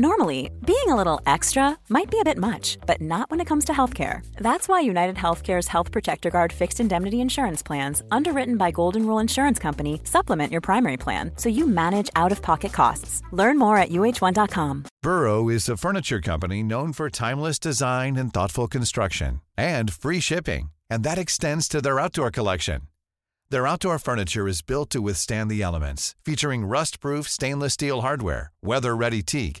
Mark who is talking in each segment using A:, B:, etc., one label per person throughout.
A: Normally, being a little extra might be a bit much, but not when it comes to healthcare. That's why United Healthcare's Health Protector Guard fixed indemnity insurance plans, underwritten by Golden Rule Insurance Company, supplement your primary plan so you manage out of pocket costs. Learn more at uh1.com.
B: Burrow is a furniture company known for timeless design and thoughtful construction, and free shipping, and that extends to their outdoor collection. Their outdoor furniture is built to withstand the elements, featuring rust-proof stainless steel hardware, weather-ready teak,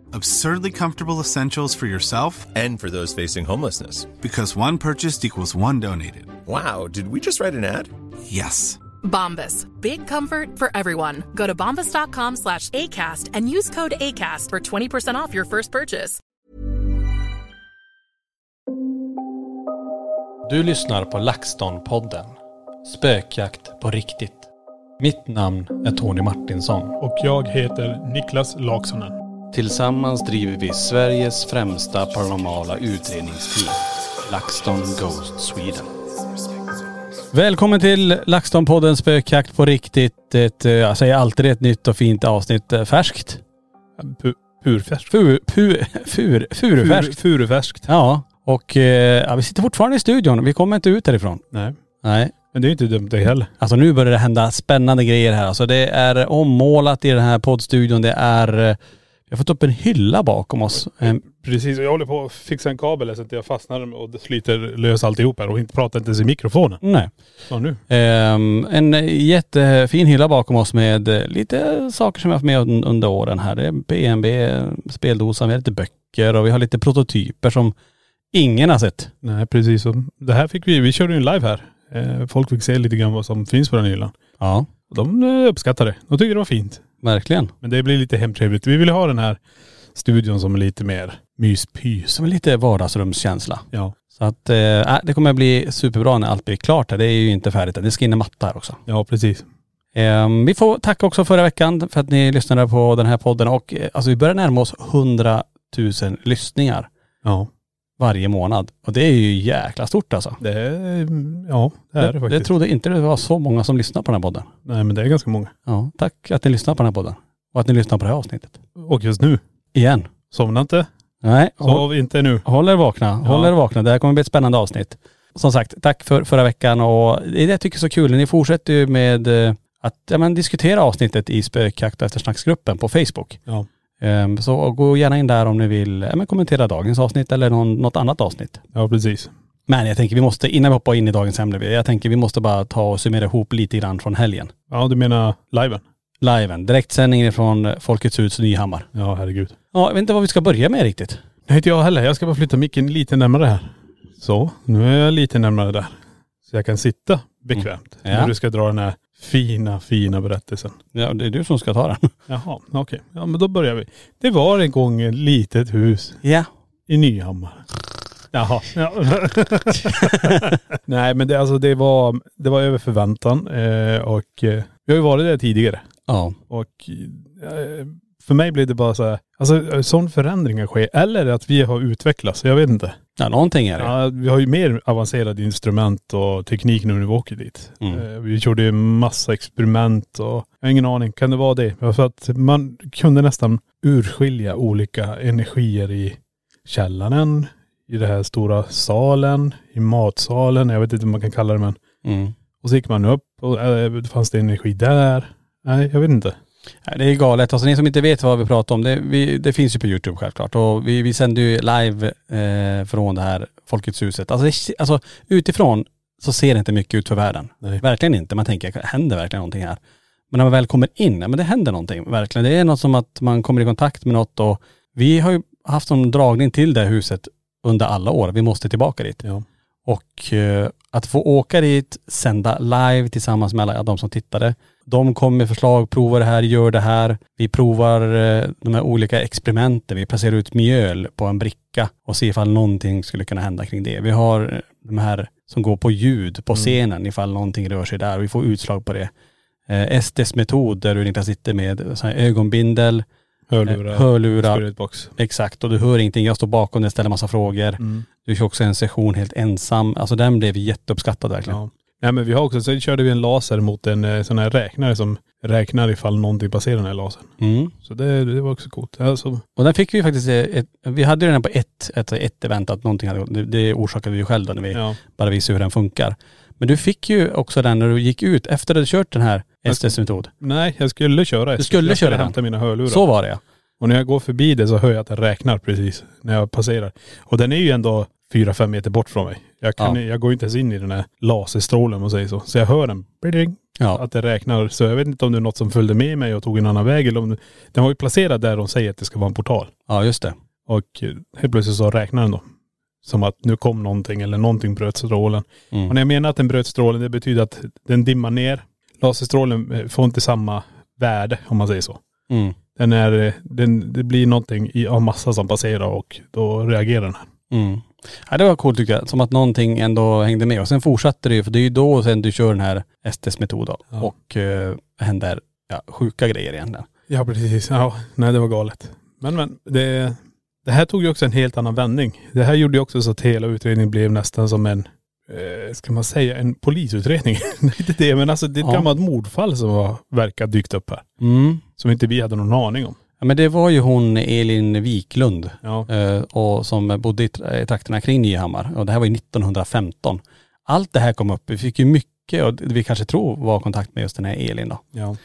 C: Absurdly comfortable essentials for yourself
D: And for those facing homelessness.
C: because one purchased equals one donated.
D: Wow, did we just write an ad?
C: Yes.
E: Bombas. Big comfort for everyone. Go to bombas.com slash ACAST and use code ACAST for 20% off your first purchase.
F: Du lyssnar på LaxTon-podden. Spökjakt på riktigt. Mitt namn är Tony Martinsson.
G: Och jag heter Niklas Laksonen.
F: Tillsammans driver vi Sveriges främsta paranormala utredningsteam. LaxTon Ghost Sweden. Välkommen till LaxTon-podden Spökjakt på riktigt. Ett, eh, jag säger alltid ett nytt och fint avsnitt. eh, Färskt.
G: Pu- Purfärskt.
F: Fur, fur, fur, furufärskt.
G: Fur- Furufärskt.
F: Ja. Och eh, ja, vi sitter fortfarande i studion. Vi kommer inte ut härifrån.
G: Nej.
F: Nej.
G: Men det är inte dumt det heller.
F: Alltså nu börjar det hända spännande grejer här. Alltså det är ommålat i den här poddstudion. Det är.. eh, Vi har fått upp en hylla bakom oss. Ehm, En-
G: Precis, och jag håller på att fixa en kabel här så att jag fastnar och det sliter lös alltihop här och inte pratar inte ens i mikrofonen.
F: nej.
G: Så nu.
F: Ehm, en jättefin hylla bakom oss med eh, lite saker som vi har haft med un- under åren här. Det är BNB, speldosan, vi har lite böcker och vi har lite prototyper som ingen har sett.
G: Nej precis, och det här fick vi, vi körde ju en live här. Eh, Folk fick se lite grann vad som finns på den hyllan.
F: Ja,
G: Och de eh, uppskattade det. De tyckte det var fint.
F: verkligen.
G: Men det blir lite hemtrevligt. Vi vill ha den här studion som är lite mer myspys.
F: Som en lite vardagsrumskänsla.
G: Ja.
F: Så att eh, det kommer bli superbra när allt blir klart här. Det är ju inte färdigt än. Det ska in en matta här också.
G: Ja precis.
F: Ehm, vi får tacka också förra veckan för att ni lyssnade på den här podden och eh, alltså vi börjar närma oss 100 000 lyssningar
G: Ja.
F: varje månad. Och det är ju jäkla stort alltså.
G: Det är, ja det är det
F: det
G: faktiskt.
F: trodde inte det var så många som lyssnar på den här podden.
G: Nej men det är ganska många.
F: Ja, tack att ni lyssnar på den här podden. Och att ni lyssnar på det här avsnittet.
G: Och just nu,
F: Igen.
G: somna inte.
F: Nej, håll,
G: Sov inte nu.
F: håll er vakna. Håll er vakna. Det här kommer bli ett spännande avsnitt. Som sagt, tack för förra veckan och det är det jag tycker är så kul. Ni fortsätter ju med eh, att ja, men, diskutera avsnittet i spökjakt och eftersnacksgruppen på Facebook.
G: Ja.
F: Ehm, Så gå gärna in där om ni vill ja, men kommentera dagens avsnitt eller någon, något annat avsnitt.
G: Ja precis.
F: Men jag tänker vi måste, innan vi hoppar in i dagens ämne, jag tänker vi måste bara ta och summera ihop lite grann från helgen.
G: Ja du menar liven?
F: Liven, direktsändningen från Folkets hus Nyhammar.
G: Ja herregud.
F: Ja, jag vet inte vad vi ska börja med riktigt.
G: Nej inte jag heller. Jag ska bara flytta micken lite närmare här. Så, nu är jag lite närmare där. Så jag kan sitta bekvämt
F: Mm. Ja.
G: när du ska dra den här fina, fina berättelsen.
F: Ja, det är du som ska ta den.
G: Jaha, okej. Ja men då börjar vi. Det var en gång ett litet hus
F: Ja.
G: I Nyhammar. Jaha. Ja. Nej men det, alltså, det, var, det var över förväntan eh, och eh, vi har ju varit där tidigare.
F: Ja.
G: Och eh, för mig blev det bara så här, alltså sån förändringar sker. Eller att vi har utvecklats, jag vet inte.
F: ja, någonting är det.
G: Ja, vi har ju mer avancerade instrument och teknik nu när vi åker dit.
F: Mm.
G: Eh, vi körde ju massa experiment och jag har ingen aning, kan det vara det? För att man kunde nästan urskilja olika energier i källaren, i den här stora salen, i matsalen, jag vet inte vad man kan kalla det men.
F: Mm.
G: Och så gick man upp och eh, fanns det energi där? Nej, jag vet inte.
F: Ja, Det är galet. Alltså ni som inte vet vad vi pratar om, det, vi, det finns ju på Youtube självklart. Och vi, vi sänder ju live eh, från det här Folkets huset. Alltså, det, alltså utifrån så ser det inte mycket ut för världen.
G: Nej.
F: Verkligen inte. Man tänker, händer verkligen någonting här? Men när man väl kommer in, ja men det händer någonting. Verkligen. Det är något som att man kommer i kontakt med något och vi har ju haft en dragning till det här huset under alla år. Vi måste tillbaka dit.
G: Ja.
F: Och eh, att få åka dit, sända live tillsammans med alla de som tittade. De kom med förslag, prova det här, gör det här. Vi provar eh, de här olika experimenten. Vi placerar ut mjöl på en bricka och ser ifall någonting skulle kunna hända kring det. Vi har eh, de här som går på ljud på scenen ifall någonting rör sig där och vi får utslag på det. Eh, Estes metod där du Niklas sitter med så här ögonbindel,
G: Hörlurar.
F: eh, hörlurar
G: Spiritbox.
F: Exakt, och du hör ingenting. Jag står bakom dig, ställer massa frågor.
G: Mm.
F: Du kör också en session helt ensam. Alltså den blev jätteuppskattad verkligen.
G: Ja. Nej men vi har också, så körde vi en laser mot en eh, sån här räknare som räknar ifall någonting passerar den här lasern.
F: Mm.
G: Så det, det var också coolt. Alltså,
F: Och den fick vi faktiskt, eh, ett, vi hade ju den på ett, ett, ett event att någonting hade gått. Det, det orsakade vi ju själv då när vi
G: ja.
F: bara visade hur den funkar. Men du fick ju också den när du gick ut efter att du kört den här
G: Jag ska-
F: STS-metod.
G: Nej, jag skulle köra.
F: Du skulle
G: jag
F: köra
G: skulle
F: den.
G: hämta mina hörlurar.
F: Så var det ja.
G: Och när jag går förbi det så hör jag att den räknar precis när jag passerar. Och den är ju ändå fyra fem meter bort från mig. Jag, kan,
F: Ja.
G: jag går ju inte ens in i den här laserstrålen om man säger så. Så jag hör den. Bling,
F: ja.
G: Att det räknar. Så jag vet inte om det är något som följde med mig och tog en annan väg. Eller om det, den var ju placerad där de säger att det ska vara en portal.
F: Ja just det.
G: Och eh, helt plötsligt så räknar den då. Som att nu kom någonting eller någonting bröt strålen. Och
F: Mm.
G: när jag menar att den bröt strålen, det betyder att den dimmar ner. Laserstrålen eh, får inte samma värde om man säger så.
F: Mm.
G: Den är, eh, den, det blir någonting i- av massa som passerar och då reagerar den.
F: Mm. Ja, det var coolt tyckte jag. Som att någonting ändå hängde med. Och sen fortsatte det ju, för det är ju då sen du kör den här STS-metoden.
G: Ja.
F: Och eh, händer ja, sjuka grejer egentligen.
G: Ja precis. Ja, nej det var galet. Men men, det, det här tog ju också en helt annan vändning. Det här gjorde ju också så att hela utredningen blev nästan som en, eh, ska man säga, en polisutredning. inte det, men alltså det är ett
F: Ja.
G: gammalt mordfall som var, verkar dykt upp här.
F: Mm.
G: Som inte vi hade någon aning om.
F: Ja men det var ju hon Elin Wiklund
G: Ja.
F: eh, och som bodde i tra- i trakterna kring Nyhammar och det här var ju 1915. Allt det här kom upp, vi fick ju mycket och det vi kanske tror var kontakt med just den här Elin då.
G: ja.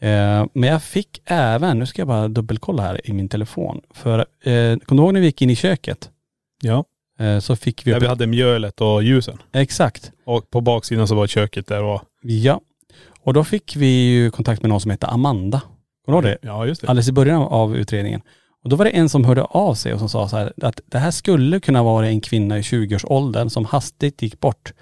F: Eh, men jag fick även, nu ska jag bara dubbelkolla här i min telefon, för eh, kommer du ihåg när vi gick in i köket?
G: Ja.
F: Eh, så fick vi
G: Där
F: upp,
G: vi hade mjölet och ljusen.
F: exakt,
G: Och på baksidan så var köket där och..
F: ja. Och då fick vi ju kontakt med någon som hette Amanda. Kommer du ihåg det?
G: Ja just det.
F: alldeles i början av utredningen. Och då var det en som hörde av sig och som sa så här att det här skulle kunna vara en kvinna i 20-årsåldern som hastigt gick bort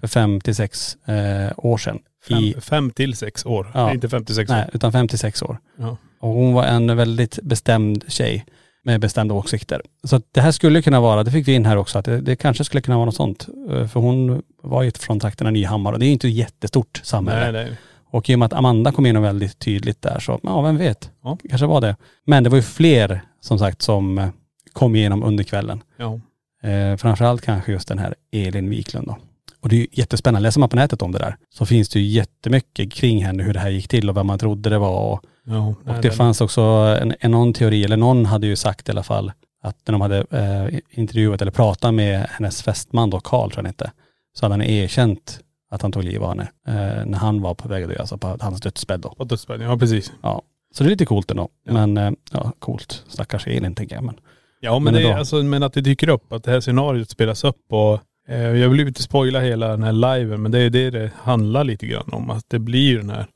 F: för fem till sex eh, år sedan. I,
G: Fem, fem till sex år.
F: Ja.
G: Inte fem till sex
F: nej,
G: år.
F: utan fem till sex år.
G: Ja.
F: Och hon var en väldigt bestämd tjej med bestämda åsikter. Så att det här skulle kunna vara, det fick vi in här också, att det, det kanske skulle kunna vara något sånt. Eh, För hon var ju från trakterna Nyhammar och det är ju inte ett jättestort samhälle.
G: Nej, nej.
F: Och i och med att Amanda kom in och väldigt tydligt där så, ja vem vet,
G: Ja.
F: kanske var det. Men det var ju fler som sagt som eh, kom igenom under kvällen.
G: Ja.
F: Eh, framförallt kanske just den här Elin Wiklund då. Och det är ju jättespännande, läser man på nätet om det där så finns det ju jättemycket kring henne, hur det här gick till och vem man trodde det var. Och,
G: ja.
F: och
G: Nej,
F: det
G: den-
F: fanns också en, en, någon teori, eller någon hade ju sagt i alla fall att när de hade eh, intervjuat eller pratat med hennes fästman då, Karl tror jag han hette, så hade han erkänt att han tog livet av henne eh, när han var på väg att dö, alltså på hans dödsbädd då.
G: På dödsbädden, ja precis.
F: Så det är lite coolt ändå.
G: Ja.
F: Men eh, ja, coolt. Stackars Elin tänker jag. Men,
G: Ja men,
F: Men
G: det,
F: ändå.
G: alltså, men att det dyker upp, att det här scenariot spelas upp och eh, jag vill ju inte spoila hela den här liven men det är det det handlar lite grann om. Att det blir den här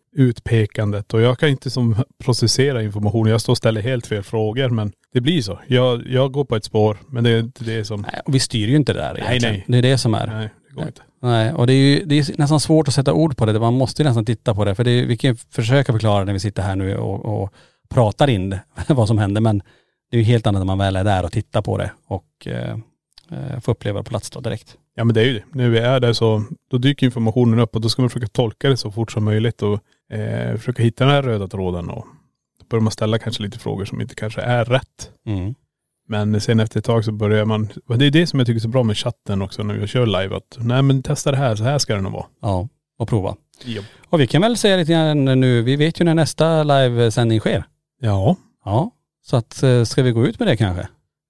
G: utpekandet och jag kan inte som processera information. Jag står och ställer helt fel frågor men det blir så. Jag, jag går på ett spår men det är inte det som..
F: nej, och vi styr ju inte det där egentligen.
G: Mm. nej.
F: Det är det som är. Nej.
G: Nej, det går inte.
F: och det är ju det är nästan svårt att sätta ord på det. Man måste ju nästan titta på det. För det är, vi kan ju försöka förklara när vi sitter här nu och, och pratar in det, vad som händer. Men det är ju helt annat när man väl är där och tittar på det och eh, eh, får uppleva det på plats då direkt.
G: Ja men det är ju det. När vi är där så, då dyker informationen upp och då ska man försöka tolka det så fort som möjligt och eh, försöka hitta den här röda tråden och då börjar man ställa kanske lite frågor som inte kanske är rätt.
F: Mm.
G: Men sen efter ett tag så börjar man, och det är det som jag tycker är så bra med chatten också när vi kör live att nej men testa det här, så här ska det nog vara.
F: Ja, och prova.
G: Ja.
F: Och vi kan väl säga lite grann nu, vi vet ju när nästa livesändning sker.
G: Ja,
F: Ja, så att eh, ska vi gå ut med det kanske?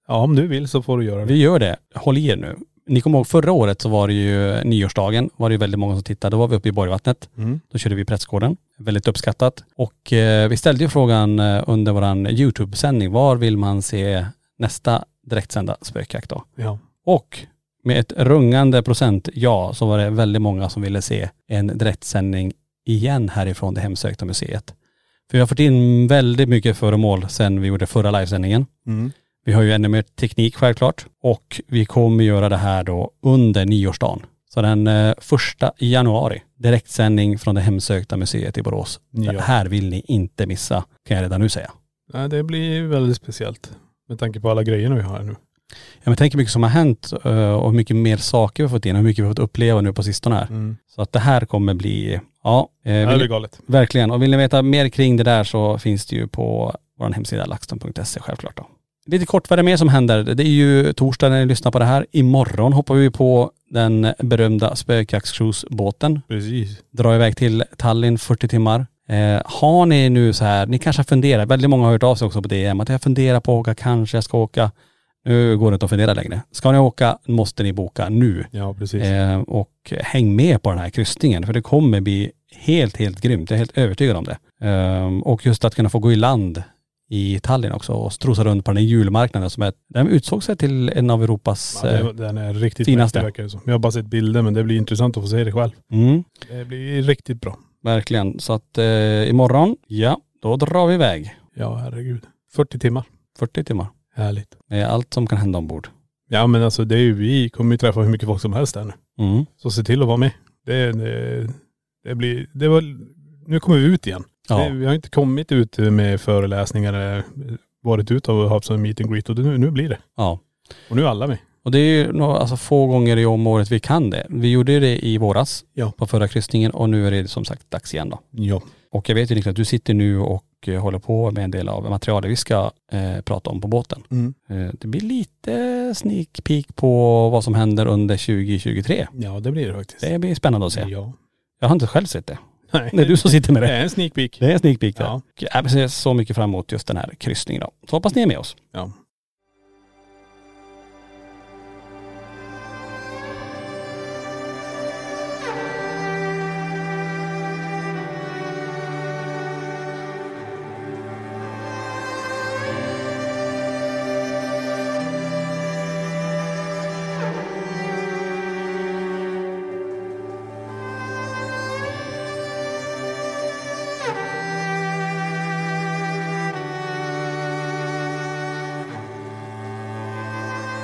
G: ja om du vill så får du göra det.
F: Vi gör det. Håll i er nu. Ni kommer ihåg förra året så var det ju nyårsdagen. var det ju väldigt många som tittade. Då var vi uppe i Borgvattnet.
G: Mm.
F: Då körde vi Prästgården. Väldigt uppskattat. Och eh, vi ställde ju frågan eh, under våran YouTube-sändning. Var vill man se nästa direktsända spökjakt då?
G: Ja.
F: Och med ett rungande procent ja så var det väldigt många som ville se en direktsändning igen härifrån det hemsökta museet. För vi har fått in väldigt mycket föremål sen vi gjorde förra livesändningen.
G: Mm.
F: Vi har ju ännu mer teknik självklart och vi kommer göra det här då under nyårsdagen. Så den eh, första i januari, direktsändning från det hemsökta museet i Borås. Det
G: Ja.
F: här vill ni inte missa, kan jag redan nu säga.
G: Nej, det blir väldigt speciellt. Med tanke på alla grejer vi har här nu.
F: Ja, men tänk hur mycket som har hänt eh, och hur mycket mer saker vi har fått in och hur mycket vi har fått uppleva nu på sistone här.
G: Mm.
F: Så att det här kommer bli, ja, eh,
G: Ja, det
F: vill,
G: blir galet.
F: verkligen. Och vill ni veta mer kring det där så finns det ju på vår hemsida laxton.se självklart då. Lite kort vad det är mer som händer. Det är ju torsdag när ni lyssnar på det här. Imorgon hoppar vi på den berömda spökjaktscruisebåten
G: Precis.
F: dra iväg till Tallinn 40 timmar. Eh, har ni nu så här, ni kanske har funderat, väldigt många har hört av sig också på DM, att jag funderar på att åka, kanske jag ska åka. Nu går det inte att fundera längre. Ska ni åka måste ni boka nu.
G: Ja, precis.
F: Eh, och häng med på den här kryssningen för det kommer bli helt, helt grymt. Jag är helt övertygad om det. Eh, och just att kunna få gå i land i Tallinn också och strosa runt på den här julmarknaden som är, den utsåg sig till en av Europas..
G: Ja,
F: eh,
G: det, den är riktigt
F: Finaste.
G: mäktig verkar det som. Jag har bara sett bilder men det blir intressant att få se det själv.
F: mm.
G: Det blir riktigt bra.
F: Verkligen. Så att eh, imorgon, ja, då drar vi iväg.
G: Ja, herregud. 40 timmar.
F: 40 timmar.
G: Härligt.
F: Med allt som kan hända ombord.
G: Ja men alltså det är ju, vi kommer ju träffa hur mycket folk som helst där nu.
F: Mm.
G: Så se till att vara med. Det, det, det blir, det var, nu kommer vi ut igen.
F: Ja.
G: Det, vi har inte kommit ut med föreläsningar eller varit ut och haft en meet and greet och det, nu, nu blir det.
F: ja.
G: Och nu är alla med.
F: Och det är ju några, alltså, få gånger i om året vi kan det. Vi gjorde ju det i våras
G: Ja.
F: på förra kryssningen och nu är det som sagt dags igen då.
G: Ja.
F: Och jag vet ju Niklas, att du sitter nu och eh, håller på med en del av materialet vi ska eh, prata om på båten.
G: Mm.
F: Eh, det blir lite sneak peek på vad som händer under 2023.
G: Ja det blir det faktiskt.
F: Det blir spännande att se.
G: Ja.
F: Jag har inte själv sett det.
G: Nej.
F: Det är du som sitter med
G: Det
F: det.
G: är en sneak peek.
F: Det är en sneak peek där.
G: Ja.
F: Och Jag ser så mycket fram emot just den här kryssningen då. Så hoppas ni är med oss.
G: Ja.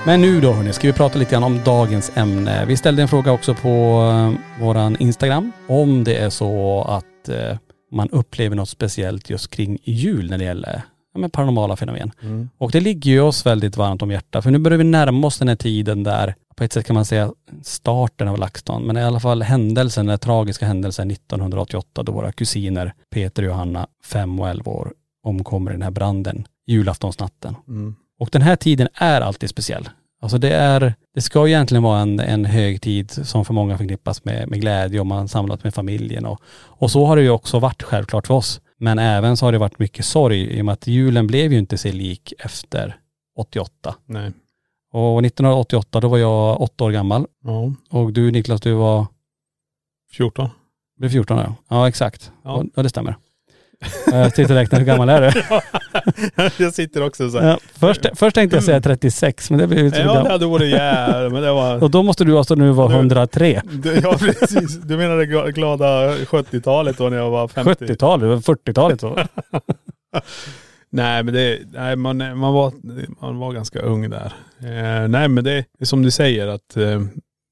F: Men nu då hörni, ska vi prata lite grann om dagens ämne. Vi ställde en fråga också på eh, våran Instagram om det är så att eh, man upplever något speciellt just kring jul när det gäller ja, men paranormala fenomen. Och det ligger ju oss väldigt varmt om hjärtat för nu börjar vi närma oss den här tiden där, på ett sätt kan man säga starten av LaxTon, men i alla fall händelsen, den här tragiska händelsen 1988 då våra kusiner Peter och Johanna, 5 och 11 år, omkommer i den här branden julaftonsnatten.
G: Mm.
F: Och den här tiden är alltid speciell. Alltså det är, det ska ju egentligen vara en, en högtid som för många förknippas med, med glädje och man samlat med familjen och, och så har det ju också varit självklart för oss. Men även så har det varit mycket sorg i och med att julen blev ju inte sig lik efter 88.
G: Nej.
F: Och 1988 då var jag åtta år gammal
G: Ja.
F: och du Niklas du var,
G: 14.
F: blev 14 år. Ja exakt.
G: Ja.
F: Ja, ja det stämmer. Eh, Jag sitter och räknar, hur gammal är du?
G: jag sitter också så här.
F: Ja, först, först tänkte jag säga 36 men det blev ju så
G: Ja det
F: gammalt.
G: hade varit jävligt men det var..
F: Och då måste du alltså nu vara
G: Nu-
F: 103.
G: Du, ja precis. Du menar det gla- glada 70-talet då när jag var 50?
F: 70-talet, 40-talet så.
G: Nej men det, nej, man, man, var, man var ganska ung där. Eh, nej men det är som du säger att eh,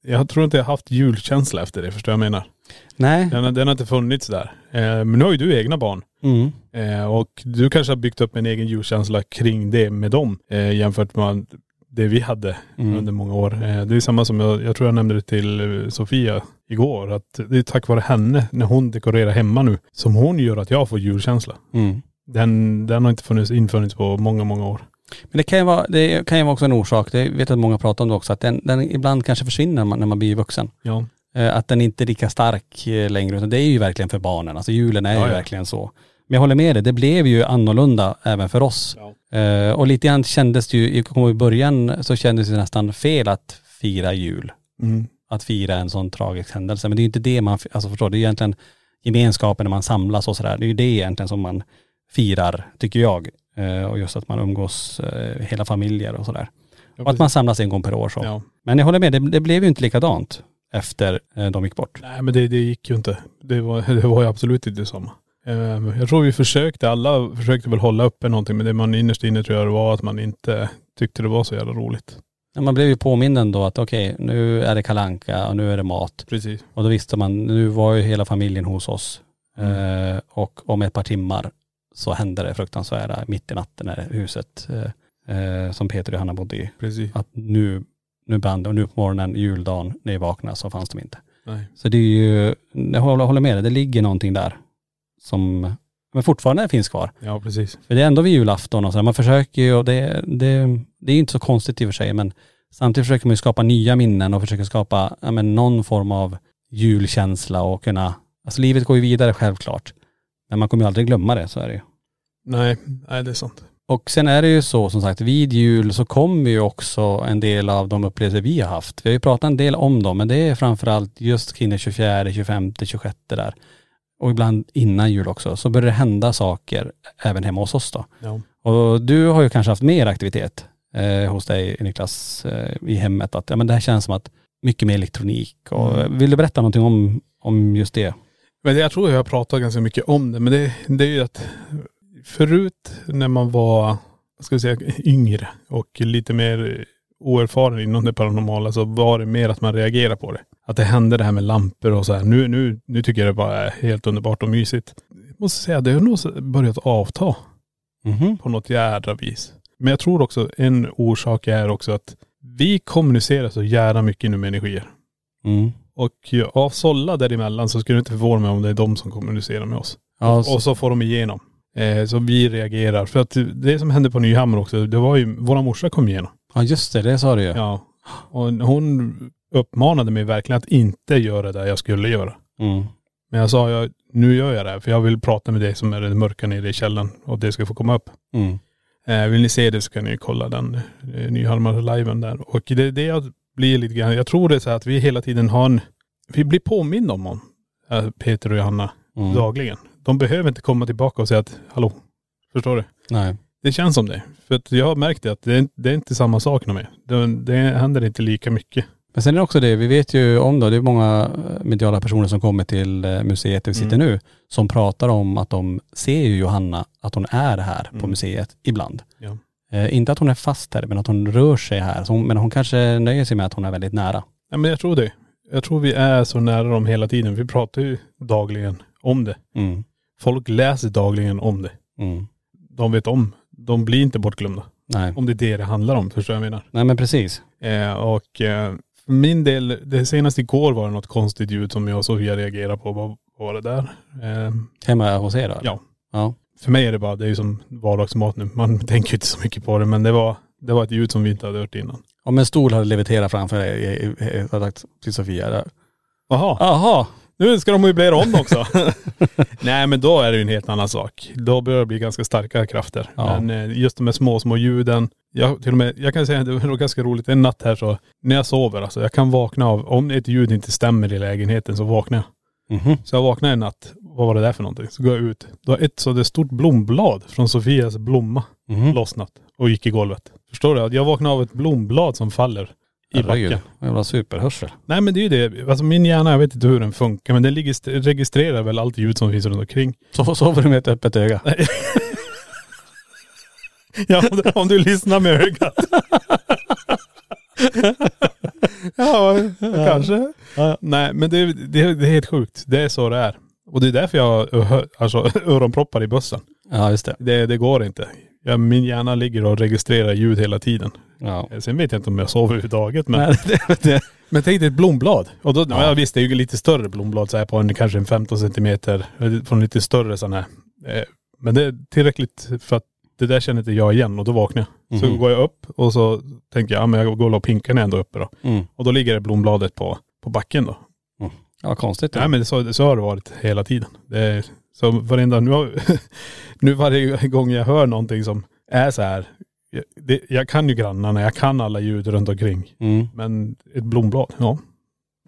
G: jag tror inte jag haft julkänsla efter det, förstår jag vad jag menar?
F: Nej.
G: Den, har- den har inte funnits där. Eh, men nu har ju du egna barn.
F: Mm.
G: Eh, och du kanske har byggt upp en egen julkänsla kring det med dem eh, jämfört med det vi hade
F: Mm.
G: under många år. Eh, det är samma som jag, jag tror jag nämnde det till eh, Sofia igår, att det är tack vare henne, när hon dekorerar hemma nu, som hon gör att jag får julkänsla.
F: Mm.
G: Den, den har inte funnits, infunnits på många, många år.
F: Men det kan ju vara, det kan ju vara också en orsak, det vet jag att många pratar om det också, att den, den ibland kanske försvinner när man, när man blir vuxen.
G: Ja.
F: Eh, Att den inte är lika stark eh, längre, utan det är ju verkligen för barnen. Alltså julen är
G: Ja,
F: ju
G: ja.
F: verkligen så. Men jag håller med dig, det blev ju annorlunda även för oss. Eh, Och lite grann kändes det ju, jag kommer ihåg i början så kändes det nästan fel att fira jul.
G: Mm.
F: att fira en sån tragisk händelse. Men det är ju inte det man, alltså förstår, du? det är egentligen gemenskapen när man samlas och sådär. Det är ju det egentligen som man firar, tycker jag. Eh, och just att man umgås eh, hela familjer och sådär. och att man samlas en gång per år så.
G: Ja.
F: Men jag håller med, det, det blev ju inte likadant efter eh, de gick bort.
G: Nej men det, det gick ju inte. Det var, det var ju absolut inte samma. Ehm, Jag tror vi försökte, alla försökte väl hålla uppe någonting men det man innerst inne tror jag det var att man inte tyckte det var så jävla roligt.
F: Ja, Man blev ju påmind ändå att okej, nu är det kalanka och nu är det mat.
G: Precis.
F: Och då visste man, nu var ju hela familjen hos oss. Eh, och om ett par timmar så hände det fruktansvärda mitt i natten när huset eh, eh, som Peter och Hanna bodde i.
G: Precis.
F: Att nu, nu brann det och nu på morgonen, juldagen, när jag vaknade så fanns de inte.
G: Nej.
F: Så det är ju, jag håller håller med dig, det ligger någonting där som, men fortfarande finns kvar.
G: Ja, precis.
F: För det är ändå vid julafton och så här, man försöker ju och det, det, det är ju inte så konstigt i och för sig men samtidigt försöker man ju skapa nya minnen och försöker skapa ja, men någon form av julkänsla och kunna, alltså livet går ju vidare självklart. Men man kommer ju aldrig glömma det, så är det ju.
G: Nej, nej det är sant.
F: Och sen är det ju så som sagt, vid jul så kommer ju också en del av de upplevelser vi har haft. Vi har ju pratat en del om dem, men det är framförallt just kring den 24, 25, 26 där. Och ibland innan jul också, så börjar det hända saker även hemma hos oss då.
G: Ja.
F: Och du har ju kanske haft mer aktivitet eh, hos dig Niklas eh, i hemmet. Att ja, men det här känns som att mycket mer elektronik. Och,
G: Mm.
F: Vill du berätta någonting om, om just det?
G: Men jag tror jag har pratat ganska mycket om det. Men det, det är ju att förut när man var, vad ska vi säga, yngre och lite mer oerfaren inom det paranormala så var det mer att man reagerade på det. Att det hände det här med lampor och så här. Nu, nu, nu tycker jag det bara är helt underbart och mysigt. Jag måste säga, det har nog så- börjat avta
F: Mhm.
G: på något jädra vis. Men jag tror också en orsak är också att vi kommunicerar så jävla mycket nu med energier.
F: Mm.
G: Och ju- av sålla däremellan så skulle det inte förvåna mig om det är de som kommunicerar med oss.
F: Ja,
G: Och så får de igenom. Eh, så vi reagerar. För att det som hände på Nyhammer också, det var ju, våra morsa kom igenom.
F: ja just det, det sa du ju.
G: Ja. Och hon uppmanade mig verkligen att inte göra det jag skulle göra.
F: Mm.
G: Men jag sa, jag, nu gör jag det här, för jag vill prata med dig som är det mörka nere i källaren och det ska få komma upp.
F: Mm.
G: Eh, vill ni se det så kan ni kolla den eh, Nyhamar-liven där. Och det är det jag blir lite grann, jag tror det är så här att vi hela tiden har en, vi blir påminna om honom, eh, Peter och Johanna,
F: Mm.
G: dagligen. De behöver inte komma tillbaka och säga att, hallå, förstår du?
F: Nej.
G: Det känns som det. För att jag har märkt det att det är, det är inte samma sak med. Det, det händer inte lika mycket.
F: Men sen är det också det, vi vet ju om då, det är många eh, mediala personer som kommer till eh, museet där vi
G: Mm.
F: sitter nu, som pratar om att de ser ju Johanna, att hon är här på museet ibland.
G: Mm. Ja.
F: Eh, inte att hon är fast här, men att hon rör sig här. Så hon, men hon kanske nöjer sig med att hon är väldigt nära.
G: Ja, men jag tror det. Jag tror vi är så nära dem hela tiden. Vi pratar ju dagligen om det.
F: Mm.
G: Folk läser dagligen om det.
F: Mm.
G: De vet om. De blir inte bortglömda.
F: Nej.
G: Om det är det det handlar om, förstår jag vad jag menar.
F: Nej men precis.
G: Eh, och eh, för min del, det senaste igår var det något konstigt ljud som jag och Sofia reagerade på. Vad vad var det där? Eh,
F: Hemma hos er då?
G: ja.
F: Ja.
G: För mig är det bara, det är ju som vardagsmat nu. Man tänker ju inte så mycket på det men det var, det var ett ljud som vi inte hade hört innan.
F: Om en stol hade leviterat framför dig, eh, eh, eh, hade jag sagt till Sofia. där.
G: Jaha,
F: Jaha,
G: nu ska de möblera om också. Nej men då är det ju en helt annan sak. Då börjar det bli ganska starka krafter.
F: Ja.
G: Men eh, just de här små, små ljuden. Jag, till och med, jag kan säga att det var ganska roligt en natt här så, när jag sover alltså, jag kan vakna av, om ett ljud inte stämmer i lägenheten så vaknar jag.
F: Mhm.
G: Så jag vaknade en natt, vad var det där för någonting? Så går jag ut, då har ett så det är stort blomblad från Sofias blomma
F: Mhm.
G: lossnat och gick i golvet. Förstår du? Att Jag vaknade av ett blomblad som faller i
F: Herregud,
G: backen.
F: Jävla superhörsel.
G: Nej men det är ju det, alltså min hjärna, jag vet inte hur den funkar men den ligger, st- registrerar väl allt ljud som finns runt omkring.
F: Så sover du med ett öppet öga.
G: Ja, om, du- om du lyssnar med ögat. ja, kanske. Nej men det, det, det är helt sjukt. Det är så det är. Och det är därför jag har hö- alltså, öronproppar i bussen.
F: Ja just det.
G: Det, det går inte. Ja, min hjärna ligger och registrerar ljud hela tiden.
F: Ja.
G: Eh, Sen vet jag inte om jag sover överhuvudtaget men..
F: Nej, det, det.
G: Men tänk dig ett blomblad. Och då, ja. visst, det är ju lite större blomblad så här på en kanske en 15 centimeter. eh, Från lite större sån här. Eh, Men det är tillräckligt för att det där känner inte jag igen och då vaknar jag. Så
F: Mhm.
G: går jag upp och så tänker jag, ja men jag går och pinkar när jag ändå är uppe då.
F: Mm.
G: Och då ligger det blombladet på, på backen då.
F: Ja, vad konstigt.
G: Nej men så, så har det varit hela tiden. Det är, så varenda, nu, har, nu varje gång jag hör någonting som är så här. Jag, det, jag kan ju grannarna, jag kan alla ljud runt omkring.
F: Mm.
G: Men ett blomblad, ja.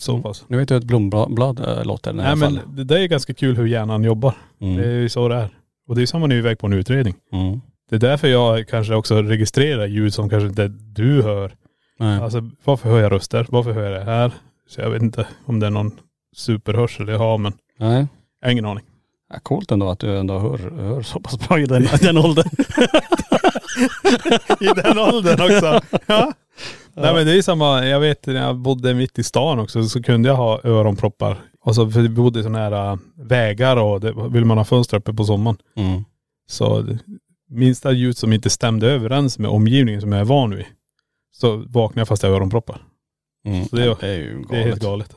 G: Så
F: Mm.
G: pass.
F: Nu vet du hur ett blomblad blad, äh, låter i alla
G: Nej
F: fall.
G: men det där är ganska kul hur hjärnan jobbar. Det
F: Mm.
G: är ju så det är. Och det är samma när vi är iväg på en utredning.
F: Mm.
G: Det är därför jag kanske också registrerar ljud som kanske inte du hör.
F: Nej.
G: Alltså varför hör jag röster? Varför hör jag det här? Så jag vet inte om det är någon superhörsel jag har men
F: Nej.
G: jag har ingen aning.
F: Ja, coolt ändå att du ändå hör, hör så pass bra i den, den åldern.
G: I den åldern också. Ja. Nej men det är ju samma, jag vet när jag bodde mitt i stan också så kunde jag ha öronproppar. Och så, för vi bodde så nära äh, vägar och det, vill man ha fönster uppe på sommaren.
F: Mm.
G: Så det- minsta ljud som inte stämde överens med omgivningen som jag är van vid. Så vaknade jag fast jag har öronproppar.
F: Mm.
G: Så det är-
F: det är ju galet.
G: Det är helt galet.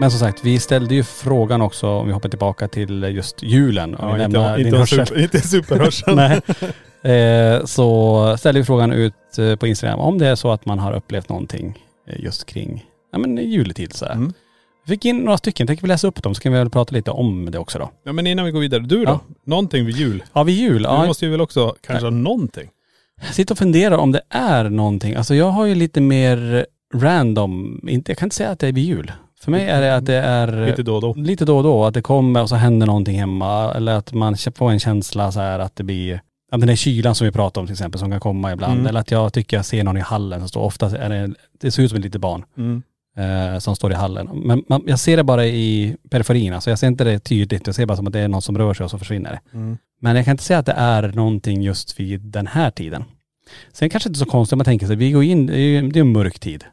F: Men som sagt, vi ställde ju frågan också, om vi hoppar tillbaka till just julen. Om vi
G: Ja,
F: lämnar
G: inte,
F: din
G: inte, en
F: hörsel.
G: super, inte en superhörsel.
F: Nej. Eh, så ställer vi frågan ut eh, på Instagram om det är så att man har upplevt någonting eh, just kring ja, men juletid så här.
G: Mm.
F: Vi fick in några stycken, tänker vi läsa upp dem så kan vi väl prata lite om det också då.
G: Ja men innan vi går vidare, du då?
F: Ja.
G: Någonting vid jul?
F: Ja, vid jul.
G: Du
F: Ja,
G: måste ju väl också kanske ha någonting?
F: Sitter och funderar om det är någonting. Alltså jag har ju lite mer random, inte, jag kan inte säga att det är vid jul. För mig är det att det är
G: Lite då och då.
F: lite då och då, att det kommer och så händer någonting hemma. Eller att man får en känsla så här att det blir, ja, den här kylan som vi pratar om till exempel som kan komma ibland.
G: Mm.
F: Eller att jag tycker jag ser någon i hallen som står, ofta är det, det ser ut som ett litet barn
G: Mm.
F: eh, som står i hallen. Men man, jag ser det bara i periferin, alltså jag ser inte det tydligt. Jag ser bara som att det är någon som rör sig och så försvinner det.
G: Mm.
F: Men jag kan inte säga att det är någonting just vid den här tiden. Sen kanske inte så konstigt om man tänker sig, vi går in, det är ju det är en mörk tid.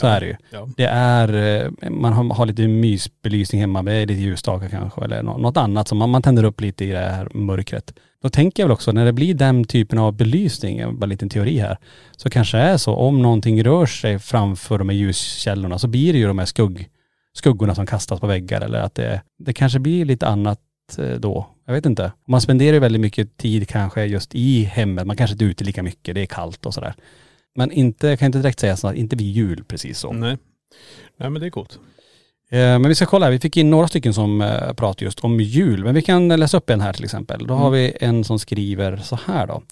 F: Så
G: Ja.
F: är det ju.
G: Ja.
F: Det är, eh, man har, har lite mysbelysning hemma, det är lite ljusstakar kanske eller nå- något annat som man, man tänder upp lite i det här mörkret. Då tänker jag väl också när det blir den typen av belysning, jag har bara en liten teori här, så kanske det är så om någonting rör sig framför de här ljuskällorna så blir det ju de här skugg, skuggorna som kastas på väggar eller att det, det kanske blir lite annat eh, då. Jag vet inte. Man spenderar ju väldigt mycket tid kanske just i hemmet, man kanske inte är ute lika mycket, det är kallt och sådär. Men inte, jag kan inte direkt säga så att inte vid jul precis så.
G: Nej. Nej men det är coolt.
F: Eh, Men vi ska kolla här, vi fick in några stycken som eh, pratar just om jul. Men vi kan läsa upp en här till exempel. Då har vi en som skriver så här då.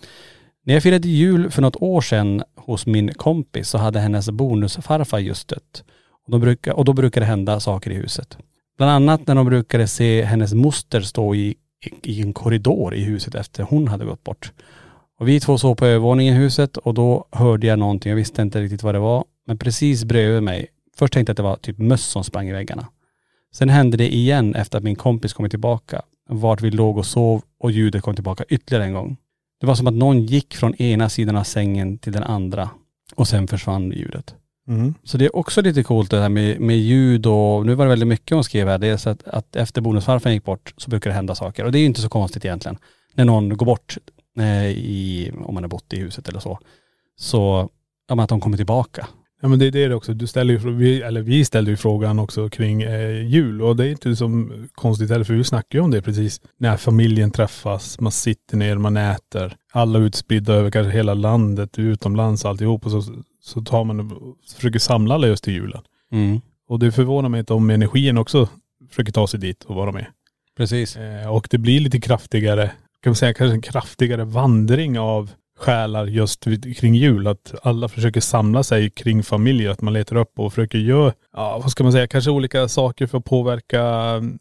F: När jag firade jul för något år sedan hos min kompis så hade hennes bonusfarfar just dött. Och då, brukar, och då brukade det hända saker i huset. Bland annat när de brukade se hennes moster stå i, i, i en korridor i huset efter hon hade gått bort. Och vi två såg på övervåningen i huset och då hörde jag någonting. Jag visste inte riktigt vad det var. Men precis bredvid mig, först tänkte jag att det var typ möss som sprang i väggarna. Sen hände det igen efter att min kompis kommit tillbaka. Vart vi låg och sov och ljudet kom tillbaka ytterligare en gång. Det var som att någon gick från ena sidan av sängen till den andra och sen försvann ljudet.
G: Mm.
F: Så det är också lite coolt det här med, med ljud och, nu var det väldigt mycket hon skrev här, dels att, att efter bonusfarfaren gick bort så brukar det hända saker. Och det är ju inte så konstigt egentligen. När någon går bort, eh, i, om man har bott i huset eller så, så, ja men att de kommer tillbaka.
G: Ja men det är det också. Du ställer ju, frå- vi, eller vi ställde ju frågan också kring eh, jul och det är inte som konstigt heller för vi snackar ju om det precis. När familjen träffas, man sitter ner, man äter. Alla är utspridda över kanske hela landet, utomlands alltihop och så, så tar man och försöker samla alla just till julen. Och det förvånar mig inte om energin också försöker ta sig dit och vara med.
F: Precis.
G: Eh, Och det blir lite kraftigare, kan man säga kanske en kraftigare vandring av själar just vid, kring jul. Att alla försöker samla sig kring familjer, att man letar upp och försöker göra, ja vad ska man säga, kanske olika saker för att påverka mm,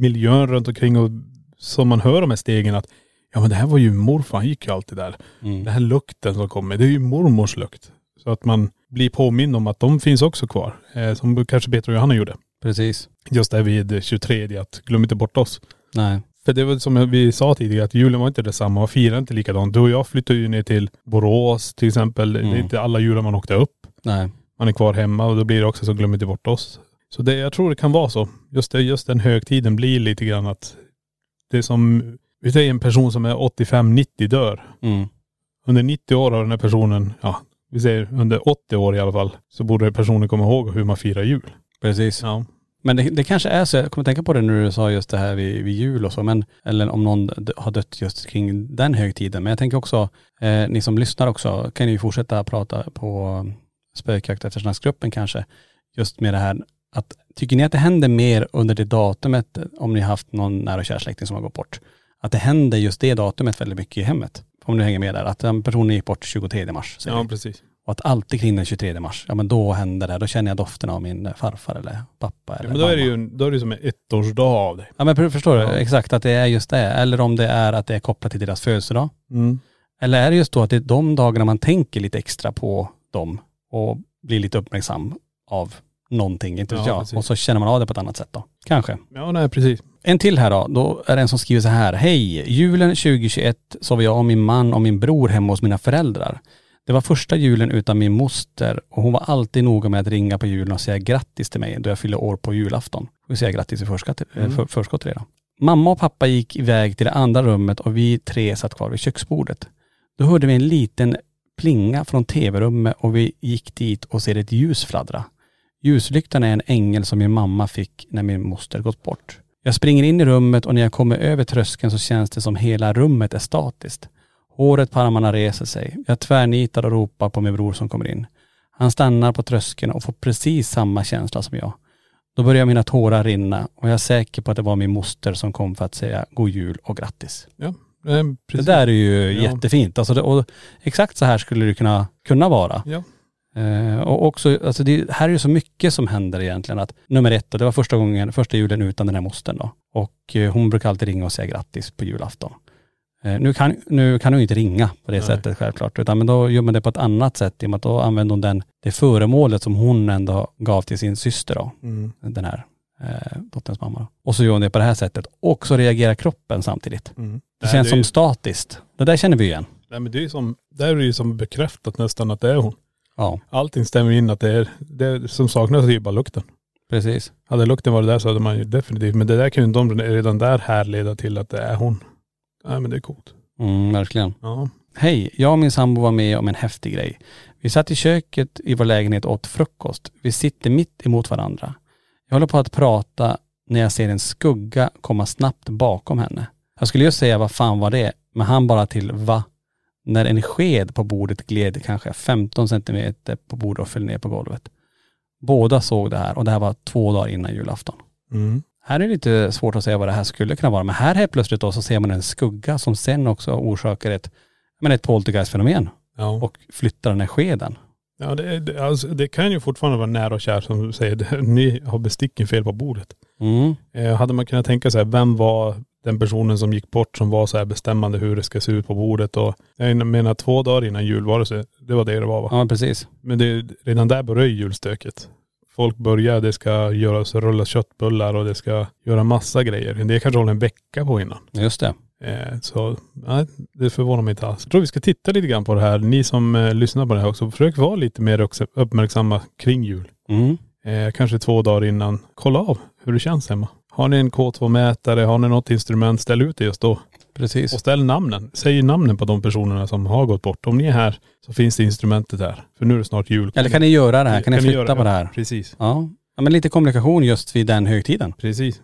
G: miljön runt omkring och som man hör de här stegen att ja men det här var ju morfar, han gick ju alltid där. Den här lukten som kommer, det är ju mormors lukt. Så att man blir påmind om att de finns också kvar. Eh, som kanske Peter och Johanna gjorde.
F: Precis.
G: Just där vid 23, att glöm inte bort oss.
F: Nej.
G: För det var som vi sa tidigare, att julen var inte detsamma och firade inte likadant. Du och jag flyttade ju ner till Borås till exempel. Det
F: Mm.
G: är inte alla jular man åkte upp.
F: Nej.
G: Man är kvar hemma och då blir det också så glöm inte bort oss. Så det, jag tror det kan vara så. Just, det, just den högtiden blir lite grann att det är som, vi säger en person som är 85-90 dör.
F: Mm.
G: Under 90 år har den här personen, ja vi säger under 80 år i alla fall, så borde personen komma ihåg hur man firar jul.
F: Precis.
G: Ja.
F: Men det, det kanske är så, jag kommer tänka på det när du sa just det här vid, vid jul och så, men, eller om någon d- har dött just kring den högtiden. Men jag tänker också, eh, ni som lyssnar också, kan ju fortsätta prata på um, spökjakt eftersnacksgruppen kanske, just med det här att, tycker ni att det händer mer under det datumet eh, om ni har haft någon nära och kär släkting som har gått bort? Att det händer just det datumet väldigt mycket i hemmet? Om du hänger med där, att den personen gick bort 23 mars. säger vi.
G: precis.
F: Och att alltid kring den 23 mars, ja men då händer det, då känner jag doften av min eh, farfar eller pappa eller
G: Ja, men då är det
F: mamma.
G: ju, då är det ju som en ettårsdag av det.
F: Ja men pr- förstår du, exakt att det är just det. Eller om det är att det är kopplat till deras födelsedag. Mm. Eller är det just då att det är de dagarna man tänker lite extra på dem och blir lite uppmärksam av någonting, inte vet
G: Ja,
F: jag.
G: precis.
F: Och så känner man av det på ett annat sätt då. Kanske.
G: Ja, nej precis.
F: En till här då. Då är det en som skriver så här. Hej! Julen 2021 sov jag och min man och min bror hemma hos mina föräldrar. Det var första julen utan min moster och hon var alltid noga med att ringa på julen och säga grattis till mig då jag fyllde år på julafton. Vi säger grattis i förskott, mm. för, förskott redan. Mamma och pappa gick iväg till det andra rummet och vi tre satt kvar vid köksbordet. Då hörde vi en liten plinga från tv-rummet och vi gick dit och ser ett ljus fladdra. Ljuslyktan är en ängel som min mamma fick när min moster gått bort. Jag springer in i rummet och när jag kommer över tröskeln så känns det som hela rummet är statiskt. Håret på armarna reser sig. Jag tvärnitar och ropar på min bror som kommer in. Han stannar på tröskeln och får precis samma känsla som jag. Då börjar mina tårar rinna och jag är säker på att det var min moster som kom för att säga god jul och grattis.
G: Ja, nej, precis.
F: Det där är ju
G: Ja.
F: jättefint. Alltså det, och exakt så här skulle det kunna, kunna vara.
G: Ja.
F: Eh, och också, alltså det, här är ju så mycket som händer egentligen. Att, nummer ett, då, det var första gången, första julen utan den här mostern då. Och eh, hon brukar alltid ringa och säga grattis på julafton. Eh, nu, kan, nu kan hon ju inte ringa på det
G: Nej.
F: sättet självklart, utan men då gör man det på ett annat sätt i och med att då använder hon den, det föremålet som hon ändå gav till sin syster då,
G: Mm.
F: den här eh, dotterns mamma. Då. Och så gör hon det på det här sättet. Och så reagerar kroppen samtidigt.
G: Mm.
F: Det känns
G: är
F: som
G: ju-
F: statiskt. Det där känner vi igen.
G: Nej men det är ju som, där är det ju som bekräftat nästan att det är hon.
F: Ja,
G: Allting stämmer in att det är, det som saknas är ju bara lukten.
F: precis.
G: Hade lukten varit där så hade man ju definitivt, men det där kan ju de redan där härleda till att det är hon. Nej men det är coolt.
F: Mm, verkligen.
G: Ja.
F: Hej, jag och min sambo var med om en häftig grej. Vi satt i köket i vår lägenhet och åt frukost. Vi sitter mitt emot varandra. Jag håller på att prata när jag ser en skugga komma snabbt bakom henne. Jag skulle just säga vad fan var det, men han bara till va? När en sked på bordet gled kanske 15 centimeter på bordet och föll ner på golvet. Båda såg det här och det här var två dagar innan julafton.
G: Mm.
F: Här är det lite svårt att säga vad det här skulle kunna vara, men här helt plötsligt då så ser man en skugga som sen också orsakar ett, men ett poltergeistfenomen
G: Ja.
F: och flyttar den här skeden.
G: ja det, är- det, alltså, det kan ju fortfarande vara nära och kär som säger, det. ni har besticken fel på bordet.
F: Mm.
G: Eh, hade man kunnat tänka sig, vem var den personen som gick bort som var så här bestämmande hur det ska se ut på bordet och jag menar två dagar innan jul var det så, det var det det var va?
F: Ja men precis.
G: Men det, redan där börjar ju julstöket. Folk börjar, det ska göras rulla köttbullar och det ska göra massa grejer. Det kanske håller en vecka på innan.
F: Just det.
G: Eh, så nej, det förvånar mig inte alls. Jag tror vi ska titta lite grann på det här. Ni som eh, lyssnar på det här också, försök vara lite mer också uppmärksamma kring jul.
F: Mm.
G: Eh, kanske två dagar innan. Kolla av hur det känns hemma. Har ni en K2-mätare, har ni något instrument, ställ ut det just då.
F: Precis.
G: Och ställ namnen. Säg namnen på de personerna som har gått bort. Om ni är här så finns det instrumentet där. För nu är det snart jul.
F: Eller kan ni göra det här? Kan ni flytta
G: göra-
F: på det här?
G: Precis.
F: Ja. ja. men lite kommunikation just vid den högtiden.
G: Precis.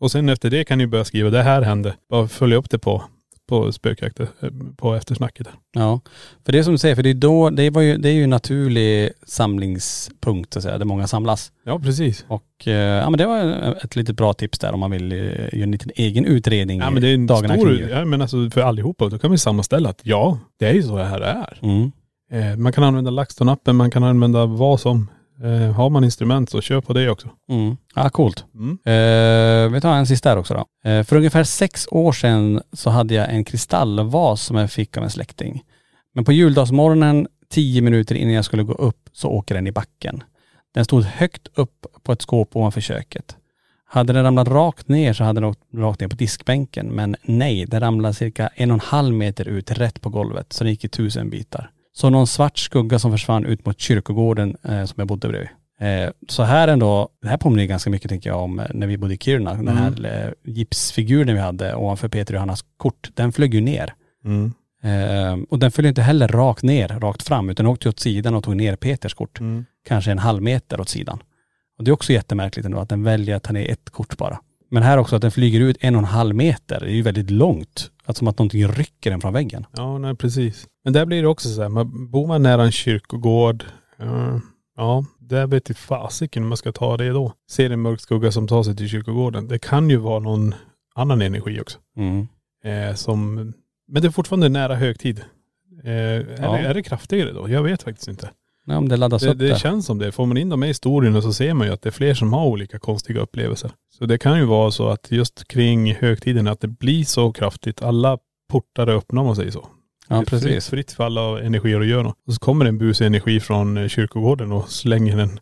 G: Och sen efter det kan ni börja skriva, det här hände. Bara följa upp det på, på spökjakten, eh, på eftersnacket. där.
F: Ja. För det är som du säger, för det är då, det, var ju, det är ju en naturlig samlingspunkt så att säga, där många samlas.
G: Ja, precis.
F: Och eh, ja men det var ett litet bra tips där om man vill eh, göra en liten egen utredning
G: Ja men det är en
F: dagarna
G: stor,
F: kring jul.
G: ja, men alltså för allihopa, då kan vi sammanställa att ja, det är ju så det här är.
F: Mm.
G: Eh, man kan använda LaxTon-appen, man kan använda vad som Eh, har man instrument så kör på det också.
F: Mm. Ja, coolt.
G: Mm.
F: Eh, vi tar en sista här också då. Eh, för ungefär sex år sedan så hade jag en kristallvas som jag fick av en släkting. Men på juldagsmorgonen, tio minuter innan jag skulle gå upp, så åker den i backen. Den stod högt upp på ett skåp ovanför köket. Hade den ramlat rakt ner så hade den åkt rakt ner på diskbänken, men nej, den ramlade cirka en och en halv meter ut rätt på golvet, så den gick i tusen bitar. Så någon svart skugga som försvann ut mot kyrkogården eh, som jag bodde bredvid. Eh, så här ändå, det här påminner ju ganska mycket tänker jag om eh, när vi bodde i Kiruna. Den här eh, gipsfiguren vi hade ovanför Peter och Johannas kort, den flög ju ner.
G: Mm.
F: Eh, och den föll ju inte heller rakt ner, rakt fram, utan åkte ju åt sidan och tog ner Peters kort. Kanske en halv meter åt sidan. Och det är också jättemärkligt ändå att den väljer att ta ner ett kort bara. Men här också att den flyger ut en och en halv meter, det är ju väldigt långt. Att som att någonting rycker den från väggen.
G: Ja, nej precis. Men där blir det också så här, man, bor man nära en kyrkogård, eh, ja, där vet jag fasiken hur man ska ta det då. Ser en mörk skugga som tar sig till kyrkogården. Det kan ju vara någon annan energi också. Eh, som, men det är fortfarande nära högtid. Eh, är,
F: Ja.
G: det, är det kraftigare då? Jag vet faktiskt inte.
F: Nej, om det laddas
G: Det,
F: upp där.
G: det känns som det. Får man in dem i historien så ser man ju att det är fler som har olika konstiga upplevelser. Så det kan ju vara så att just kring högtiden att det blir så kraftigt. Alla portar är öppna om man säger så.
F: ja,
G: Det är Fritt,
F: precis.
G: fritt fall av energier att göra något. Och så kommer en busig energi från eh, kyrkogården och slänger en,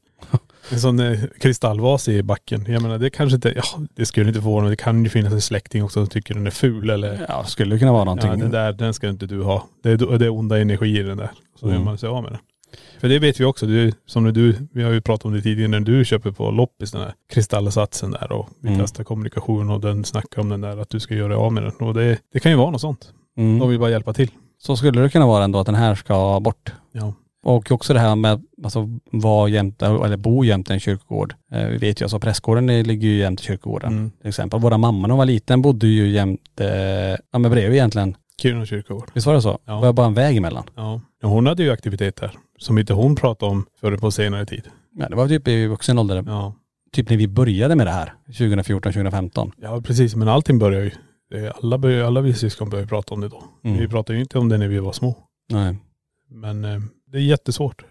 G: en sån eh, kristallvas i backen. Jag menar det kanske inte, ja det skulle inte förvåna mig. Det kan ju finnas en släkting också som tycker den är ful eller
F: Ja, det skulle kunna vara någonting.
G: Ja, den där, den ska inte du ha. Det är, det är onda energier den där. Så
F: Mm.
G: gör man sig av med den. För det vet vi också, du, som när du, vi har ju pratat om det tidigare, när du köper på loppis den här kristallsatsen där och vi
F: Mm.
G: testar kommunikation och den snackar om den där att du ska göra av med den. Och det, det kan ju vara något sånt.
F: Mm.
G: De vill bara hjälpa till.
F: Så skulle det kunna vara ändå att den här ska bort.
G: Ja.
F: Och också det här med att alltså, vara jämte, eller bo jämte en kyrkogård. Eh, vi vet ju alltså prästgården eh, ligger ju jämte kyrkogården.
G: Mm.
F: Till exempel våra mamma när hon var liten bodde ju jämte, eh, ja men bredvid egentligen.
G: Kiruna kyrkogård.
F: Visst var det så?
G: Ja.
F: Det var bara en väg emellan.
G: Ja. Ja, Hon hade ju aktivitet där som inte hon pratade om förrän på senare tid.
F: Ja, det var typ i vuxen ålder,
G: Ja.
F: typ när vi började med det här 2014, 2015.
G: Ja precis, men allting börjar ju. det är- Alla, börjar, alla vi syskon börjar ju prata om det då.
F: Mm.
G: Vi pratade ju inte om det när vi var små.
F: Nej.
G: Men eh, det är jättesvårt.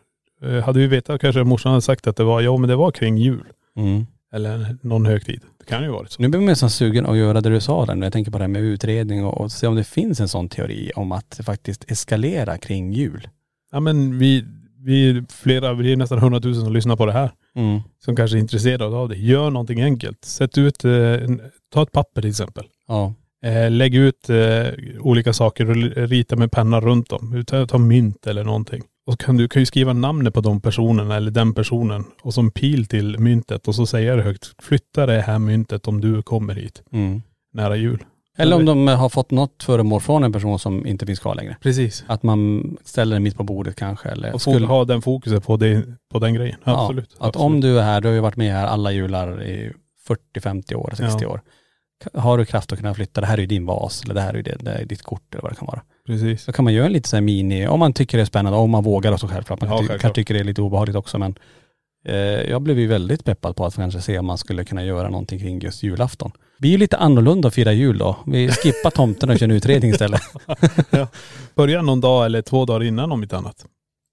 G: Eh, hade vi vetat kanske morsan hade sagt att det var, ja men det var kring jul.
F: Mm.
G: Eller någon högtid. Det kan ju varit så.
F: Nu blir man nästan sugen att göra det du sa där, när jag tänker på det här med utredning och, och se om det finns en sån teori om att det faktiskt eskalera kring jul.
G: Ja men vi, vi är flera, vi är nästan 100 000 som lyssnar på det här.
F: Mm.
G: Som kanske är intresserade av det. Gör någonting enkelt. Sätt ut, eh, en, ta ett papper till exempel.
F: Ja.
G: Eh, lägg ut eh, olika saker och l- rita med penna runt dem. Ta, ta mynt eller någonting. Och så kan, du kan ju skriva namnet på de personerna eller den personen och som pil till myntet och så säger det högt. Flytta det här myntet om du kommer hit
F: Mm.
G: nära jul.
F: Eller om de har fått något föremål från en person som inte finns kvar längre.
G: Precis.
F: Att man ställer den mitt på bordet kanske eller
G: Och skulle ha den fokuset på, det, på den grejen.
F: Ja,
G: absolut.
F: Att om du är här, du har ju varit med här alla jular i 40, 50 år, 60
G: Ja.
F: år. Ka- Har du kraft att kunna flytta, det här är ju din vas eller det här är ju det, det här är ditt kort eller vad det kan vara.
G: Precis.
F: Så kan man göra en liten så här mini, om man tycker det är spännande, om man vågar och så självklart. Man
G: Ja,
F: kan, ty- kan
G: självklart.
F: tycka det är lite obehagligt också men eh, jag blev ju väldigt peppad på att kanske se om man skulle kunna göra någonting kring just julafton. Vi är ju lite annorlunda att fira jul då. Vi skippar tomten och kör en utredning istället.
G: Börja någon dag eller två dagar innan om inte annat.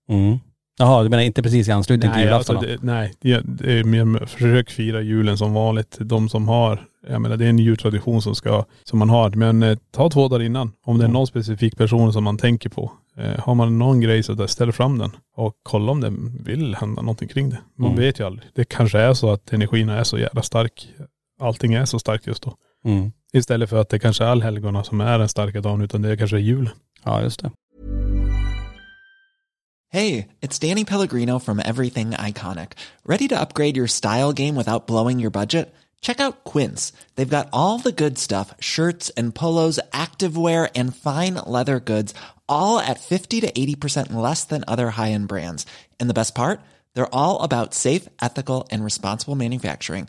F: Mm. Jaha, du menar inte precis i anslutning till julafton? då?
G: det, nej alltså, det, det är mer, försök fira julen som vanligt. De som har, jag menar det är en jultradition som, ska, som man har. Men eh, ta två dagar innan om det är
F: Mm.
G: någon specifik person som man tänker på. Eh, har man någon grej så där, ställ fram den och kolla om det vill hända någonting kring det. Man
F: Mm.
G: vet ju aldrig. Det kanske är så att energin är så jävla stark. Allting är så starkt just då.
F: Mm.
G: Istället för att det kanske är allhelgona som är den starka dagen utan det kanske är julen.
F: Ja, just det.
H: Hey, it's Danny Pellegrino from Everything Iconic. Ready to upgrade your style game without blowing your budget? Check out Quince. They've got all the good stuff shirts and polos, activewear, and fine leather goods, all at 50 to 80% less than other high end brands. And the best part? They're all about safe, ethical, and responsible manufacturing.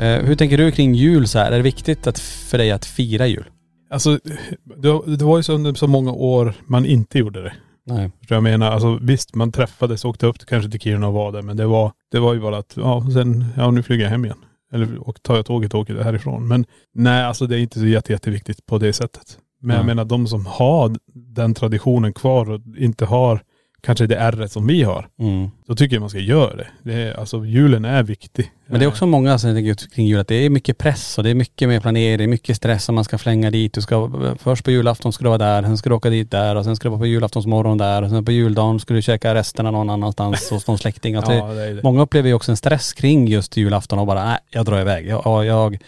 F: Eh, hur tänker du kring jul så här? Är det viktigt att, för dig att fira jul?
G: Alltså det, det var ju så under så många år man inte gjorde det.
F: Nej.
G: Förstår Jag menar, alltså visst man träffades, åkte upp till- kanske till Kiruna och var där, men det var, det var ju bara att, ja sen, ja nu flyger jag hem igen. Eller och tar jag tåget och åker härifrån. Men nej, alltså det är inte så jätte, jätteviktigt på det sättet. Men jag
F: Nej.
G: menar de som har den traditionen kvar och inte har kanske det ärret som vi har,
F: Mm.
G: då tycker jag man ska göra det. det är, alltså julen är viktig.
F: Men det är också många som tänker ut kring jul att det är mycket press och det är mycket mer planering, mycket stress som man ska flänga dit. Du ska, först på julafton ska du vara där, sen ska du åka dit där och sen ska du vara på julaftonsmorgon där och sen på juldagen ska du käka resterna någon annanstans hos någon släkting. Alltså
G: Ja,
F: det,
G: det är det.
F: Många upplever ju också en stress kring just julafton och bara, nej jag drar iväg. Jag, ja, jag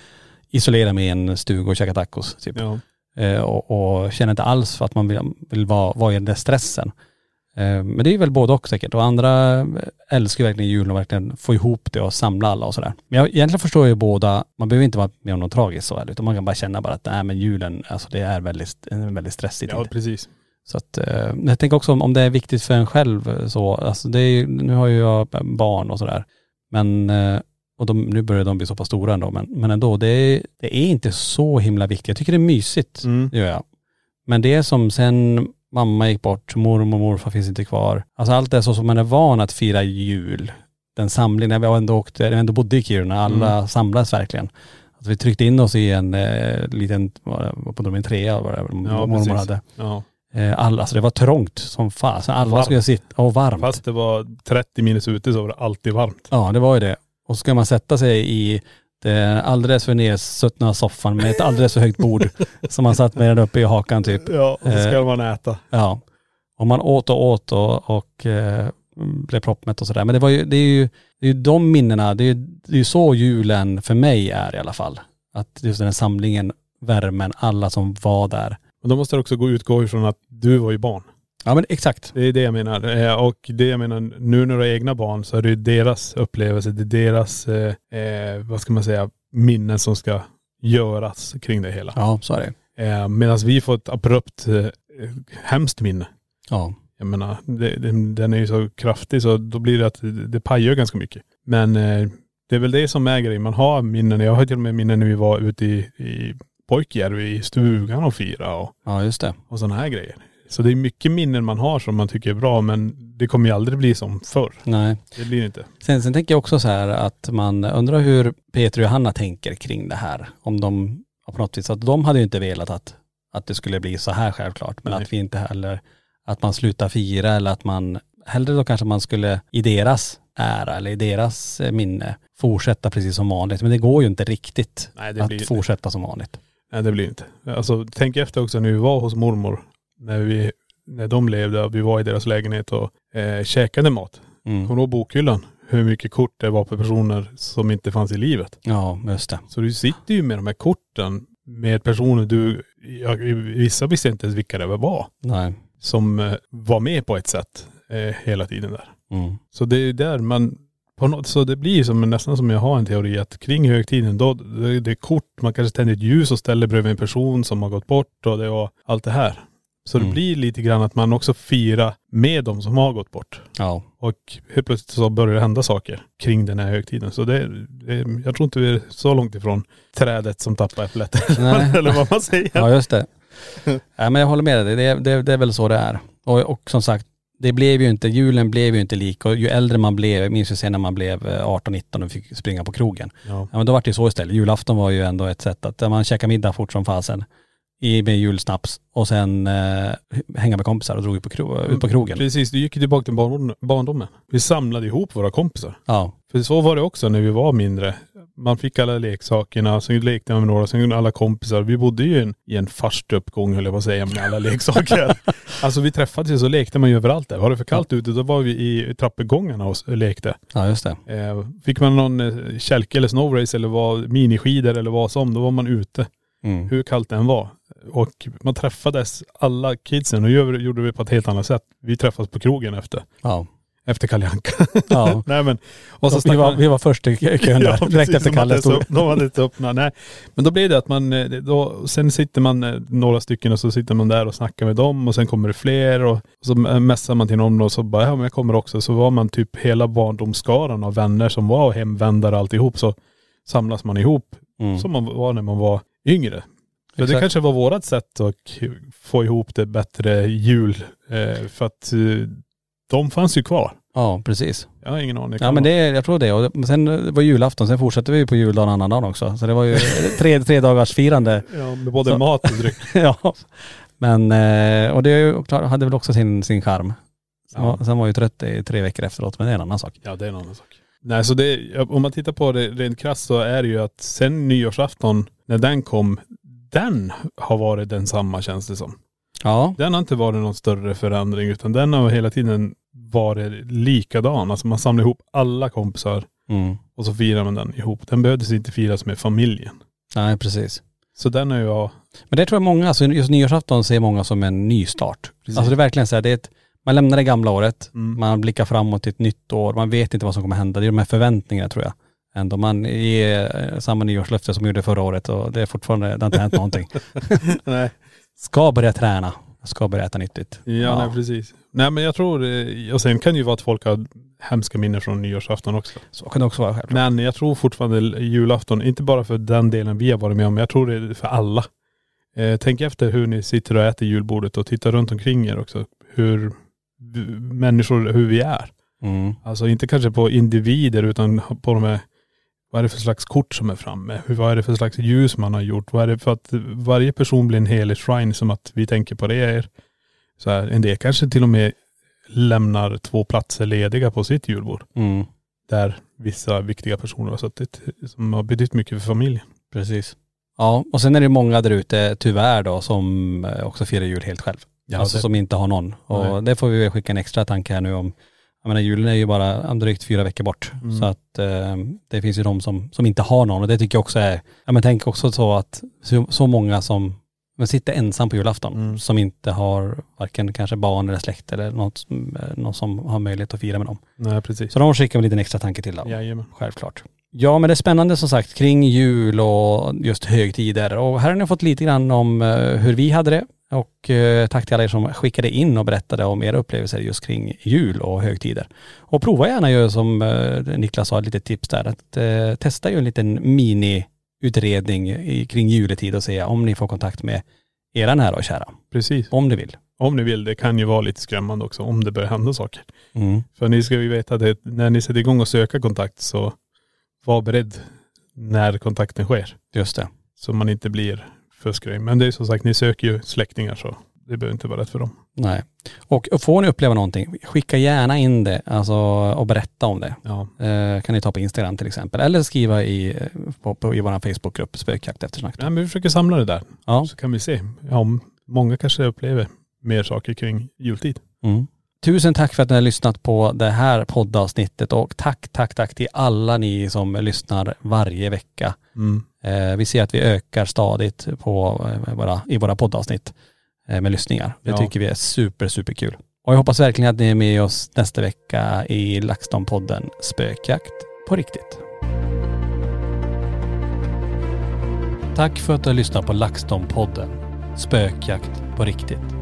F: isolerar mig i en stuga och käkar tacos typ.
G: Ja.
F: Eh, och, och känner inte alls för att man vill, vill vara, vara i den där stressen. Eh, men det är väl både och säkert. Och andra eh, älskar ju verkligen julen och verkligen få ihop det och samla alla och sådär. Men jag, egentligen förstår jag ju båda, man behöver inte vara med om något tragiskt så här, utan man kan bara känna bara att nej men julen, alltså det är väldigt, en väldigt stressig tid.
G: Ja, precis.
F: Så att, eh, men jag tänker också om, om det är viktigt för en själv eh, så, alltså det är ju, nu har ju jag barn och sådär, men, eh, och de, nu börjar de bli så pass stora ändå, men, men ändå, det är, det är inte så himla viktigt. Jag tycker det är mysigt,
G: Mm.
F: det gör jag. Men det är som sen mamma gick bort, mormor och morfar finns inte kvar. Alltså allt det är så som man är van att fira jul. Den samlingen, när vi ändå åkte, när vi ändå bodde i Kiruna, alla
G: Mm.
F: samlades verkligen. Alltså vi tryckte in oss i en eh, liten, vad på de en trea var det,
G: Ja,
F: mormor
G: precis.
F: hade.
G: Ja.
F: Eh, Alla, alltså det var trångt som fasen. Alla
G: Varmt.
F: skulle sitta, och varmt.
G: Fast det var 30 minus ute så var det alltid varmt.
F: Ja det var ju det. Och så ska man sätta sig i den alldeles för nedsuttna soffan med ett alldeles för högt bord som man satt med den uppe i hakan typ.
G: Ja, och så ska
F: Eh.
G: man äta.
F: Ja. Och man åt och åt och, och eh, blev proppmätt och sådär. Men det, var ju, det, är ju, det är ju de minnena, det är, ju- det är ju så julen för mig är i alla fall. Att just den här samlingen, värmen, alla som var där.
G: Men då måste det också gå utgå ifrån att du var ju barn.
F: Ja men exakt.
G: Det är det jag menar. Eh, Och det jag menar, nu när du har egna barn så är det ju deras upplevelse, det är deras, eh, eh, vad ska man säga, minnen som ska göras kring det hela.
F: Ja så är det.
G: Eh, Medan vi får ett abrupt, eh, hemskt minne.
F: Ja.
G: Jag menar, det, det, den är ju så kraftig så då blir det att det, det pajar ganska mycket. Men eh, det är väl det som är grejen. Man har minnen. Jag har till och med minnen när vi var ute i, i Pojkjärvi i stugan och fira och,
F: Ja just det.
G: och sådana här grejer. Så det är mycket minnen man har som man tycker är bra men det kommer ju aldrig bli som förr.
F: Nej.
G: Det blir det inte.
F: Sen, sen tänker jag också så här att man undrar hur Peter och Johanna tänker kring det här. Om de, ja, på något vis, att de hade ju inte velat att, att det skulle bli så här självklart. Men
G: Nej.
F: att vi inte heller, att man slutar fira eller att man, hellre då kanske man skulle i deras ära eller i deras eh, minne fortsätta precis som vanligt. Men det går ju inte riktigt
G: Nej
F: att fortsätta som vanligt.
G: Nej det blir det inte. Alltså tänk efter också när vi var hos mormor. När, vi, när de levde och vi var i deras lägenhet och eh, käkade mat.
F: Mm.
G: Kommer du ihåg bokhyllan? Hur mycket kort det var på personer som inte fanns i livet.
F: Ja, just det.
G: Så du sitter ju med de här korten med personer du, jag, vissa visste inte ens vilka det var,
F: Nej.
G: som eh, var med på ett sätt eh, hela tiden där.
F: Mm.
G: Så det är där man, på något, så det blir som, nästan som jag har en teori att kring högtiden då, det, det är kort, man kanske tänder ett ljus och ställer bredvid en person som har gått bort och det och allt det här. Så det
F: Mm.
G: blir lite grann att man också firar med de som har gått bort.
F: Ja.
G: Och helt plötsligt så börjar det hända saker kring den här högtiden. Så det, det, jag tror inte vi är så långt ifrån trädet som tappar äpplet.
F: Nej.
G: Eller vad man säger.
F: Ja just det. Nej men jag håller med dig, det, det, det är väl så det är. Och, och som sagt, det blev ju inte, julen blev ju inte lik och ju äldre man blev, jag minns ju sen när man blev eh, 18-19 och fick springa på krogen.
G: Ja.
F: Ja men då var det ju så istället. Julafton var ju ändå ett sätt att eh, man käkade middag fort som fasen i med julsnaps och sen eh, hänga med kompisar och drog ut på, kro, ut på krogen.
G: Precis, du gick tillbaka till barn- barndomen. Vi samlade ihop våra kompisar.
F: Ja.
G: För så var det också när vi var mindre. Man fick alla leksakerna, sen lekte man med några, sen alla kompisar. Vi bodde ju i en, i en farstuppgång höll jag på att säga, med alla leksaker. alltså vi träffades ju så lekte man ju överallt där. Var det för kallt ute, då var vi i trappuppgångarna och s- lekte.
F: ja just det.
G: Eh, fick man någon eh, kälke eller snowrace eller vad, miniskidor eller vad som, då var man ute.
F: Mm.
G: Hur kallt det än var. Och man träffades, alla kidsen, och gör- gjorde vi på ett helt annat sätt. Vi träffades på krogen efter,
F: Ja.
G: efter Kalle Anka.
F: ja.
G: Nej men. Och så
F: vi,
G: snackade
F: var,
G: man-
F: vi var först i kö- kön där. Direkt
G: precis,
F: efter
G: de hade
F: Kalle
G: inte
F: stod.
G: upp- De hade inte öppnat, nej. Men då blir det att man, eh, då, sen sitter man eh, några stycken och så sitter man där och snackar med dem och sen kommer det fler och så eh, messar man till någon och så bara, ja men jag kommer också. Så var man typ hela barndomsskaran av vänner som var hemvändare alltihop så samlas man ihop
F: Mm.
G: som man var när man var yngre. Så det
F: Exakt.
G: kanske var vårat sätt att k- få ihop det bättre jul. Eh, för att eh, de fanns ju kvar.
F: Ja precis.
G: Jag har ingen aning.
F: Ja men det, jag tror det. Och det- sen var julafton, sen fortsatte vi ju på juldagen annan dag också. Så det var ju tre, tre dagars firande.
G: Ja, med både
F: Så-
G: mat och dryck.
F: ja. Men, eh, och det är ju klart- hade väl också sin, sin charm. Sen, var, sen var jag ju trött i tre veckor efteråt, men det är en annan sak.
G: Ja, det är en annan sak. Nej, så det, om man tittar på det rent krasst så är det ju att sen nyårsafton, när den kom, den har varit densamma känns det som.
F: Ja,
G: Den har inte varit någon större förändring utan den har hela tiden varit likadan. Alltså man samlar ihop alla kompisar
F: mm.
G: och så firar man den ihop. Den behövdes inte firas med familjen.
F: nej precis.
G: Så den har jag,
F: Men det tror jag många, alltså just nyårsafton ser många som en nystart.
G: Precis.
F: Alltså det är verkligen så här, det är ett, man lämnar det gamla året,
G: Mm.
F: man blickar framåt till ett nytt år, man vet inte vad som kommer hända. Det är de här förväntningarna tror jag. Ändå man ger eh, samma nyårslöfte som man gjorde förra året och det är fortfarande, det har inte hänt någonting.
G: nej,
F: Ska börja träna, jag ska börja äta nyttigt.
G: ja, nej precis. Nej men jag tror, eh, och sen kan det ju vara att folk har hemska minnen från nyårsafton också.
F: Så kan det också vara självklart.
G: Men jag tror fortfarande l- julafton, inte bara för den delen vi har varit med om, jag tror det är för alla. Eh, tänk efter hur ni sitter och äter julbordet och titta runt omkring er också. Hur v- människor, hur vi är.
F: Mm.
G: Alltså inte kanske på individer utan på de här, vad är det för slags kort som är framme? Hur, vad är det för slags ljus man har gjort? Vad är det för att varje person blir en helig shrine som att vi tänker på det er. Så här, en del kanske till och med lämnar två platser lediga på sitt julbord
F: Mm.
G: där vissa viktiga personer har suttit som har betytt mycket för familjen.
F: Precis. Ja, och sen är det många där ute, tyvärr då, som eh, också firar jul helt själv.
G: Ja,
F: alltså
G: det-
F: som inte har någon. Och
G: Nej.
F: det får vi väl skicka en extra tanke här nu om, jag menar julen är ju bara om drygt fyra veckor bort.
G: Mm.
F: Så att eh, det finns ju de som, som inte har någon och det tycker jag också är, ja men tänk också så att så, så många som men sitter ensam på julafton
G: Mm.
F: som inte har varken kanske barn eller släkt eller något, eh, någon som har möjlighet att fira med dem.
G: Nej precis.
F: Så de skickar vi en liten extra tanke till. Då
G: Jajamän.
F: självklart. Ja men det är spännande som sagt kring jul och just högtider. Och här har ni fått lite grann om eh, hur vi hade det. Och eh, tack till alla er som skickade in och berättade om era upplevelser just kring jul och högtider. Och prova gärna ju som eh, Niklas sa, lite tips där, att eh, testa ju en liten miniutredning i, kring juletid och se om ni får kontakt med era nära och kära.
G: Precis.
F: Om ni vill.
G: Om ni vill, det kan ju vara lite skrämmande också om det börjar hända saker.
F: Mm.
G: För ni ska ju veta att det, när ni sätter igång och söka kontakt så var beredd när kontakten sker.
F: Just det.
G: Så man inte blir för skrämd. Men det är som sagt, ni söker ju släktingar så det behöver inte vara rätt för dem.
F: Nej. Och får ni uppleva någonting, skicka gärna in det alltså, och berätta om det.
G: Ja.
F: Eh, kan ni ta på Instagram till exempel. Eller skriva i, eh, på, på, i vår Facebookgrupp Spökjakt eftersnack.
G: Nej, men vi försöker samla det där.
F: Ja.
G: Så kan vi se Ja, om många kanske upplever mer saker kring jultid.
F: Mm. Tusen tack för att ni har lyssnat på det här poddavsnittet och tack, tack, tack till alla ni som lyssnar varje vecka.
G: Mm.
F: Eh, vi ser att vi ökar stadigt på, eh, våra, i våra poddavsnitt eh, med lyssningar. Det
G: Ja.
F: tycker vi är super, super kul. Och jag hoppas verkligen att ni är med oss nästa vecka i LaxTon-podden Spökjakt på riktigt. Tack för att du har lyssnat på LaxTon-podden Spökjakt på riktigt.